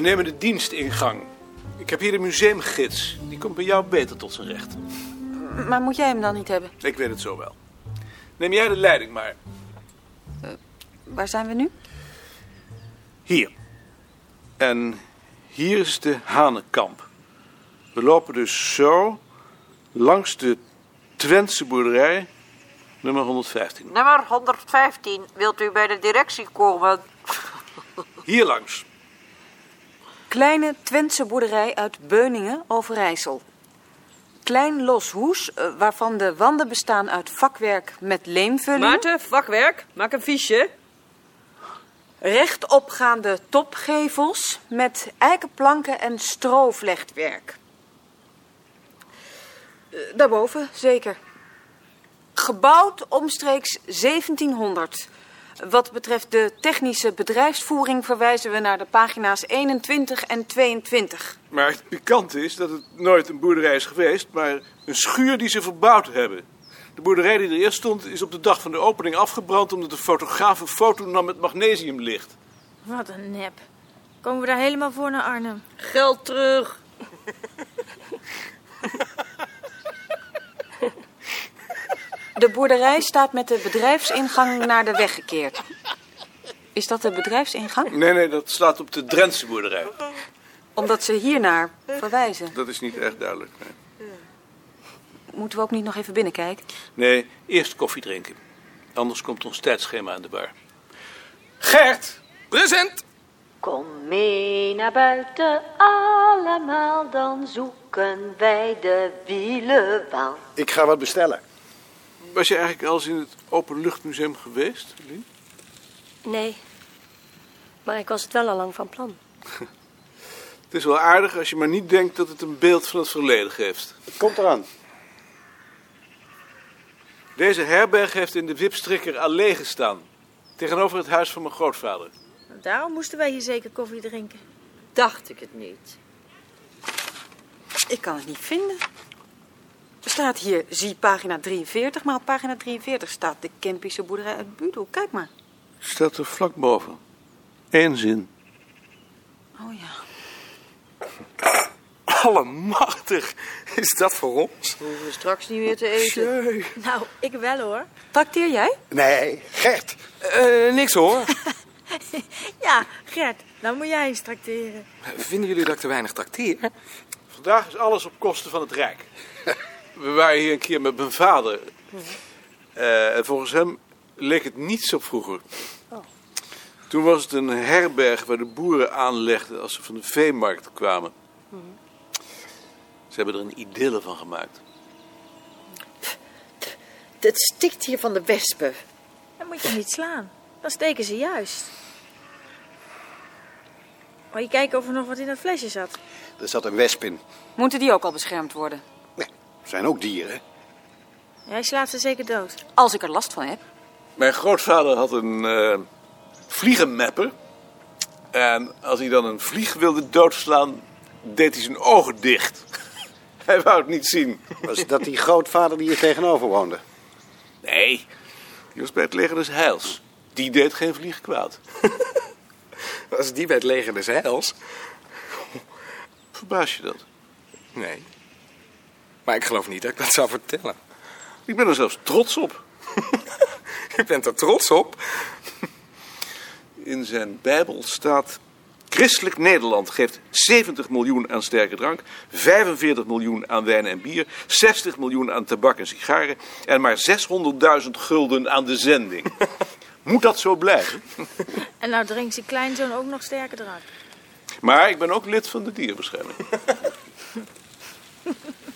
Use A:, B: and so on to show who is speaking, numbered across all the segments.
A: nemen de dienstingang. Ik heb hier een museumgids. Die komt bij jou beter tot zijn recht.
B: Maar moet jij hem dan niet hebben?
A: Ik weet het zo wel. Neem jij de leiding maar.
B: Waar zijn we nu?
A: Hier. En hier is de Hanenkamp. We lopen dus zo langs de Twentse boerderij nummer 115.
B: Nou.
C: Nummer 115, wilt u bij de directie komen?
A: Hier langs.
B: Kleine Twentse boerderij uit Beuningen, Overijssel. Klein los hoes, eh, waarvan de wanden bestaan uit vakwerk met leemvulling.
C: Maarten, vakwerk, maak een fiche.
B: Rechtopgaande topgevels met eikenplanken en stroovlechtwerk. Eh, Daarboven, zeker. Gebouwd omstreeks 1700. Wat betreft de technische bedrijfsvoering verwijzen we naar de pagina's 21 en 22.
A: Maar het pikante is dat het nooit een boerderij is geweest, maar een schuur die ze verbouwd hebben. De boerderij die er eerst stond is op de dag van de opening afgebrand omdat de fotograaf een foto nam met magnesiumlicht.
D: Wat een nep. Komen we daar helemaal voor naar Arnhem?
C: Geld terug.
B: De boerderij staat met de bedrijfsingang naar de weg gekeerd. Is dat de bedrijfsingang?
A: Nee, nee, dat slaat op de Drentse boerderij.
B: Omdat ze hiernaar verwijzen.
A: Dat is niet echt duidelijk. Nee,
B: Moeten we ook niet nog even binnenkijken?
A: nee eerst koffie drinken. Anders komt ons tijdschema aan de bar. Gert! Present!
E: Kom mee naar buiten allemaal, dan zoeken wij de wielen wel.
F: Ik ga wat bestellen.
A: Was je eigenlijk al eens in het Openluchtmuseum geweest, Lien?
G: Nee. Maar ik was het wel al lang van plan.
A: Het is wel aardig als je maar niet denkt dat het een beeld van het verleden geeft.
F: Het komt eraan.
A: Deze herberg heeft in de Wipstrikker Allee gestaan. Tegenover het huis van mijn grootvader.
D: Daarom moesten wij hier zeker koffie drinken.
C: Dacht ik het niet.
B: Ik kan het niet vinden. Er staat hier, zie pagina 43, maar op pagina 43 staat de Kempische boerderij uit Budel. Kijk maar.
A: Staat er vlak boven. Eén zin.
B: Oh ja.
H: Allemachtig, is dat voor ons?
C: We hoeven straks niet meer te eten.
D: Nou, ik wel hoor.
B: Trakteer jij?
F: Nee, Gert.
H: Eh, niks hoor.
D: Ja, Gert, dan moet jij eens tracteren.
H: Vinden jullie dat ik te weinig trakteer?
A: Vandaag is alles op kosten van het Rijk. We waren hier een keer met mijn vader. Eh, en volgens hem leek het niets op vroeger. Oh. Toen was het een herberg waar de boeren aanlegden als ze van de veemarkt kwamen. Ze hebben er een idylle van gemaakt.
C: Het stikt hier van de wespen.
D: Dan moet je niet slaan. Dan steken ze juist. Moet je kijken of er nog wat in dat flesje zat.
F: Er zat een wesp in.
B: Moeten die ook al beschermd worden?
F: Nee, zijn ook dieren.
D: Jij slaat ze zeker dood.
B: Als ik er last van heb.
A: Mijn grootvader had een eh, vliegenmepper. En als hij dan een vlieg wilde doodslaan, deed hij zijn ogen dicht. hij wou het niet zien.
F: Was dat die grootvader die hier tegenover woonde?
A: Nee, die was bij het leger des heils. Die deed geen vlieg kwaad.
H: Als die bij het leger des heils.
A: Verbaas je dat?
H: Nee. Maar ik geloof niet dat ik dat zou vertellen.
A: Ik ben er zelfs trots op.
H: Je bent er trots op.
A: In zijn Bijbel staat... Christelijk Nederland geeft 70 miljoen aan sterke drank, 45 miljoen aan wijn en bier, 60 miljoen aan tabak en sigaren en maar 600.000 gulden aan de zending. Moet dat zo blijven?
D: En nou drinkt zijn kleinzoon ook nog sterker drank.
A: Maar ik ben ook lid van de dierenbescherming.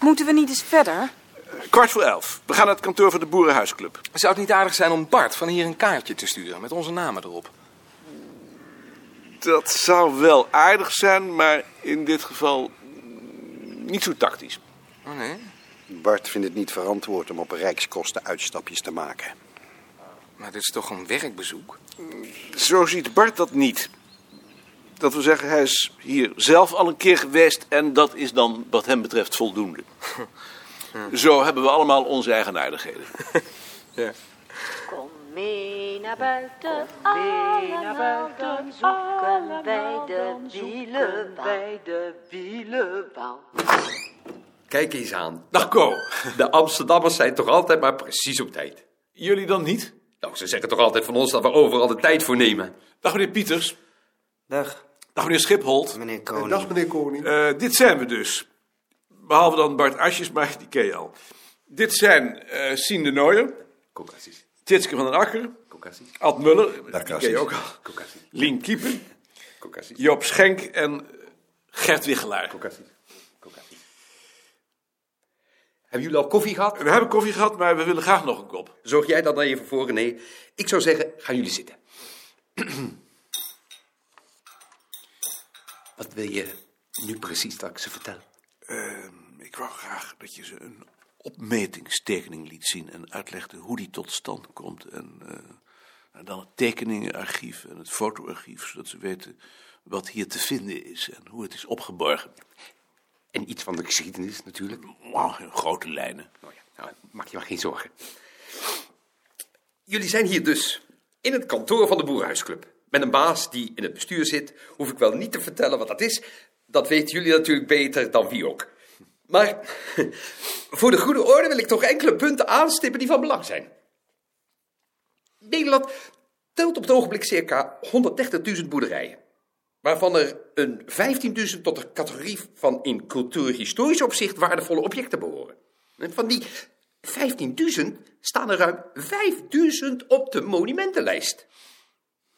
B: Moeten we niet eens verder?
A: Kwart voor elf. We gaan naar het kantoor van de Boerenhuisclub.
H: Zou het niet aardig zijn om Bart van hier een kaartje te sturen met onze namen erop?
A: Dat zou wel aardig zijn, maar in dit geval mm, niet zo tactisch.
H: Oh nee.
F: Bart vindt het niet verantwoord om op rijkskosten uitstapjes te maken.
H: Maar dit is toch een werkbezoek?
A: Zo ziet Bart dat niet. Dat wil zeggen, hij is hier zelf al een keer geweest en dat is dan wat hem betreft voldoende. Zo hebben we allemaal onze eigen aardigheden.
H: Ja.
E: Kom Mee naar buiten, mee naar buiten, zoeken wij de wielen, bij de wielenbaan.
I: Kijk eens aan.
A: Dag Ko.
I: De Amsterdammers zijn toch altijd maar precies op tijd.
A: Jullie dan niet?
I: Nou, ze zeggen toch altijd van ons dat we overal de tijd voor nemen.
A: Dag meneer Pieters.
J: Dag,
A: Dag meneer Schipholt.
J: meneer Koning.
F: Dag meneer Koning.
A: Eh, dit zijn we dus. Behalve dan Bart Asjes, maar die ken je al. Dit zijn eh Sien de Nooijer,
I: Caucasisch,
A: Tjitske van den Akker,
I: Caucasisch,
A: Ad Muller, die
F: Caucasisch.
A: ken je ook al.
I: Caucasisch,
A: Lien Kiepen,
I: Caucasisch,
A: Joop Schenk en Gert Wichelaar.
I: Caucasisch, Caucasisch. Hebben jullie al koffie gehad?
A: We hebben koffie gehad, maar we willen graag nog een kop.
I: Zorg jij dat dan even voor? Nee, ik zou zeggen, gaan jullie zitten. Wat wil je nu precies dat ik ze vertel?
A: Ik wou graag dat je ze een opmetingstekening liet zien en uitlegde hoe die tot stand komt. En, eh, en dan het tekeningenarchief en het fotoarchief, zodat ze weten wat hier te vinden is en hoe het is opgeborgen.
I: En iets van de geschiedenis natuurlijk.
A: Wow, in grote lijnen.
I: Nou ja, nou, maak je maar geen zorgen. Jullie zijn hier dus, in het kantoor van de Boerenhuisclub. Met een baas die in het bestuur zit, hoef ik wel niet te vertellen wat dat is. Dat weten jullie natuurlijk beter dan wie ook. Maar voor de goede orde wil ik toch enkele punten aanstippen die van belang zijn. Nederland telt op het ogenblik circa 130.000 boerderijen. Waarvan er een 15.000 tot de categorie van in cultuurhistorisch opzicht waardevolle objecten behoren. En van die 15.000 staan er ruim 5.000 op de monumentenlijst.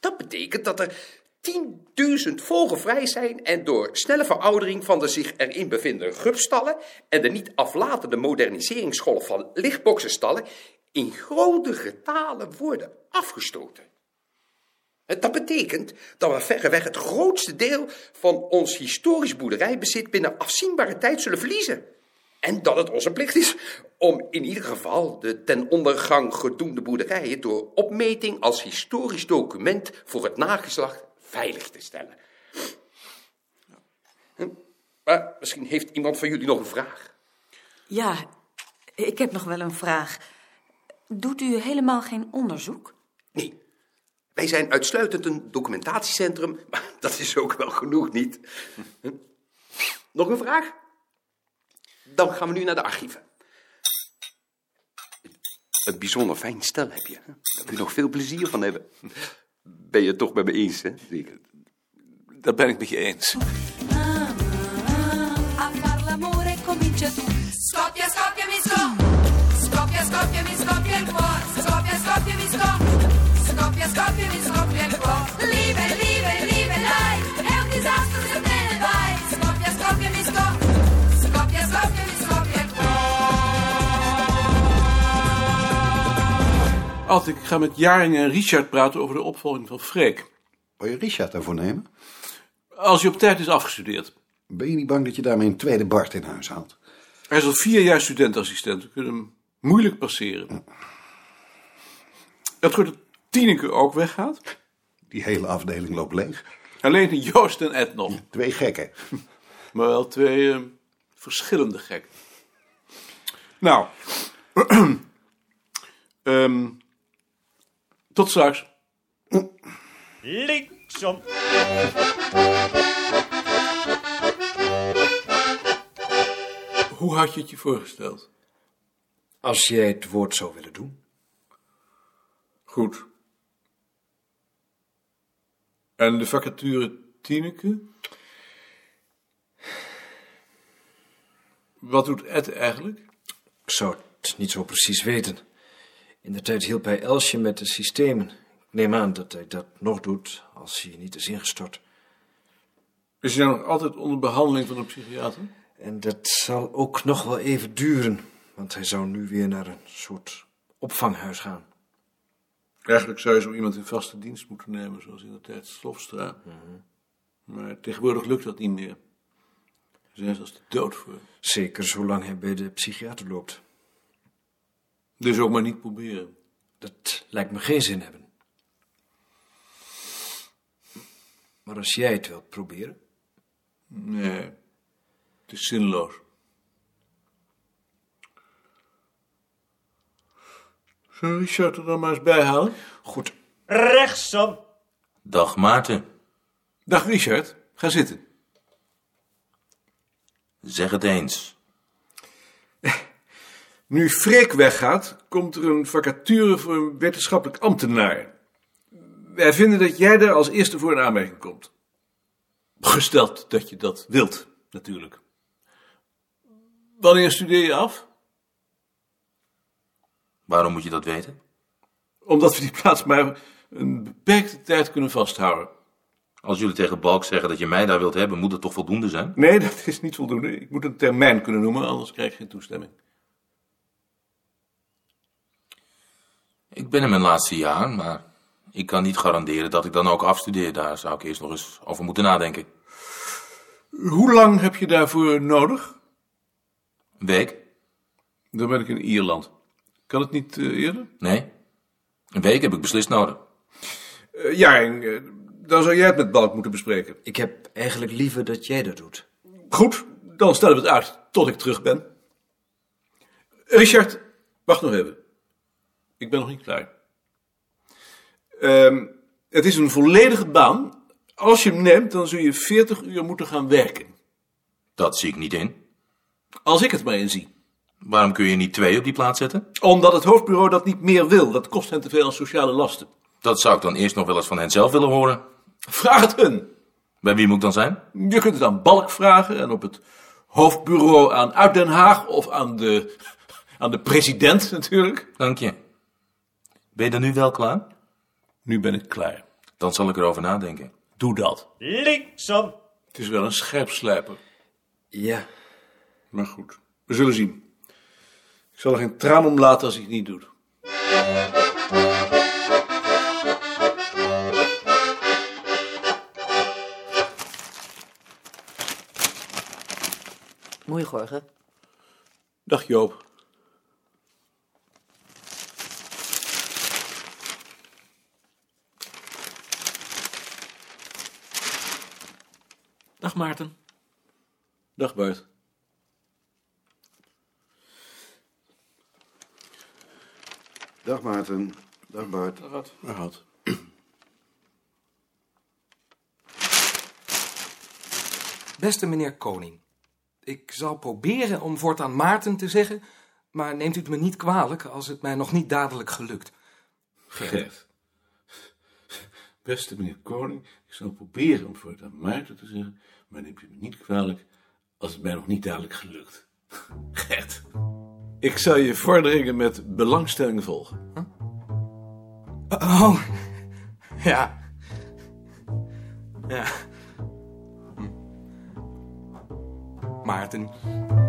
I: Dat betekent dat er 10.000 vogelvrij zijn en door snelle veroudering van de zich erin bevindende grubstallen en de niet aflatende moderniseringsgolf van lichtboksenstallen in grote getalen worden afgestoten. En Dat betekent dat we verreweg het grootste deel van ons historisch boerderijbezit binnen afzienbare tijd zullen verliezen. En dat het onze plicht is om in ieder geval de ten ondergang gedoemde boerderijen door opmeting als historisch document voor het nageslacht veilig te stellen. Hm, Maar misschien heeft iemand van jullie nog een vraag.
B: Ja, ik heb nog wel een vraag. Doet u helemaal geen onderzoek?
I: Nee, wij zijn uitsluitend een documentatiecentrum, maar dat is ook wel genoeg, niet? Hm. Nog een vraag? Dan gaan we nu naar de archieven. Een bijzonder fijn stel heb je. hè? Daar kun je nog veel plezier van hebben. Ben je het toch met me eens, hè? Zeker.
A: Dat ben ik met je eens.
K: A far l'amore comincia tu. Scoppia, scoppia, mi scoppia. Scoppia, scoppia, mi scoppia il cuore. Scoppia, scoppia, mi scoppia. Scoppia, scoppia, mi scoppia il cuore. Lieve, lieve, lieve, dai. È un disastro se te ne vai. Scoppia, scoppia, mi scoppia. Scoppia, scoppia, mi scoppia il cuore.
A: Altijd, ik ga met Jaring en Richard praten over de opvolging van Freek.
F: Wil je Richard daarvoor nemen?
A: Als hij op tijd is afgestudeerd.
F: Ben je niet bang dat je daarmee een tweede Bart in huis haalt?
A: Hij is al vier jaar studentassistent. We kunnen hem moeilijk passeren. Het goed dat Tineke ook weggaat.
F: Die hele afdeling loopt leeg.
A: Alleen Joost en Ed nog.
F: Twee gekken.
A: Maar wel twee eh, verschillende gekken. Nou. Ehm, tot straks.
J: Linksom.
A: Hoe had je het je voorgesteld?
J: Als jij het woord zou willen doen.
A: Goed. En de vacature Tineke? Wat doet Ed eigenlijk?
J: Ik zou het niet zo precies weten. In de tijd hielp hij Elsje met de systemen. Ik neem aan dat hij dat nog doet als hij niet is ingestort.
A: Is hij nou nog altijd onder behandeling van een psychiater?
J: En dat zal ook nog wel even duren, want hij zou nu weer naar een soort opvanghuis gaan.
A: Eigenlijk zou je zo iemand in vaste dienst moeten nemen, zoals in de tijd Slofstra. Maar tegenwoordig lukt dat niet meer. Ze zijn zelfs de dood voor.
J: Zeker zolang hij bij de psychiater loopt.
A: Dus ook maar niet proberen.
J: Dat lijkt me geen zin hebben. Maar als jij het wilt proberen.
A: Nee, het is zinloos. Zullen we Richard er dan maar eens bij halen? Goed.
L: Rechtsom.
M: Dag Maarten.
A: Dag Richard, ga zitten.
M: Zeg het eens.
A: Nu Freek weggaat, komt er een vacature voor een wetenschappelijk ambtenaar. Wij vinden dat jij daar als eerste voor een aanmerking komt. Gesteld dat je dat wilt, natuurlijk. Wanneer studeer je af?
M: Waarom moet je dat weten?
A: Omdat we die plaats maar een beperkte tijd kunnen vasthouden.
M: Als jullie tegen Balk zeggen dat je mij daar wilt hebben, moet dat toch voldoende zijn?
A: Nee, dat is niet voldoende. Ik moet een termijn kunnen noemen, anders krijg ik geen toestemming.
M: Ik ben in mijn laatste jaar, maar ik kan niet garanderen dat ik dan ook afstudeer. Daar zou ik eerst nog eens over moeten nadenken.
A: Hoe lang heb je daarvoor nodig?
M: Een week?
A: Dan ben ik in Ierland. Kan het niet eh, eerder?
M: Nee. Een week heb ik beslist nodig.
A: Eh, Jaring, eh, dan zou jij het met Balk moeten bespreken.
J: Ik heb eigenlijk liever dat jij dat doet.
A: Goed, dan stellen we het uit tot ik terug ben. Richard, wacht nog even. Ik ben nog niet klaar. Ehm, het is een volledige baan. Als je hem neemt, dan zul je 40 uur moeten gaan werken.
M: Dat zie ik niet in.
A: Als ik het maar in zie.
M: Waarom kun je niet twee op die plaats zetten?
A: Omdat het hoofdbureau dat niet meer wil. Dat kost hen te veel aan sociale lasten.
M: Dat zou ik dan eerst nog wel eens van hen zelf willen horen.
A: Vraag het hun.
M: Bij wie moet ik dan zijn?
A: Je kunt het aan Balk vragen en op het hoofdbureau aan Uit Den Haag of aan de, aan de president natuurlijk.
M: Dank je. Ben je dan nu wel klaar?
A: Nu ben ik klaar.
M: Dan zal ik erover nadenken.
A: Doe dat.
L: Linksom.
A: Het is wel een scherpslijper.
J: Ja,
A: Maar goed, we zullen zien. Ik zal er geen traan om laten als hij het niet doet.
E: Goeiemorgen.
A: Dag Joop.
H: Dag Maarten.
A: Dag Bart.
F: Dag Maarten. Dag Bart.
A: Wat? Wat?
N: Beste meneer Koning, ik zal proberen om voortaan Maarten te zeggen, maar neemt u het me niet kwalijk als het mij nog niet dadelijk gelukt.
A: Gert. Beste meneer Koning, ik zal proberen om voor het aan Maarten te zeggen, maar neem je me niet kwalijk als het mij nog niet dadelijk gelukt. Gert. Ik zal je vorderingen met belangstelling volgen.
N: Oh, ja. Ja. Hm. Maarten,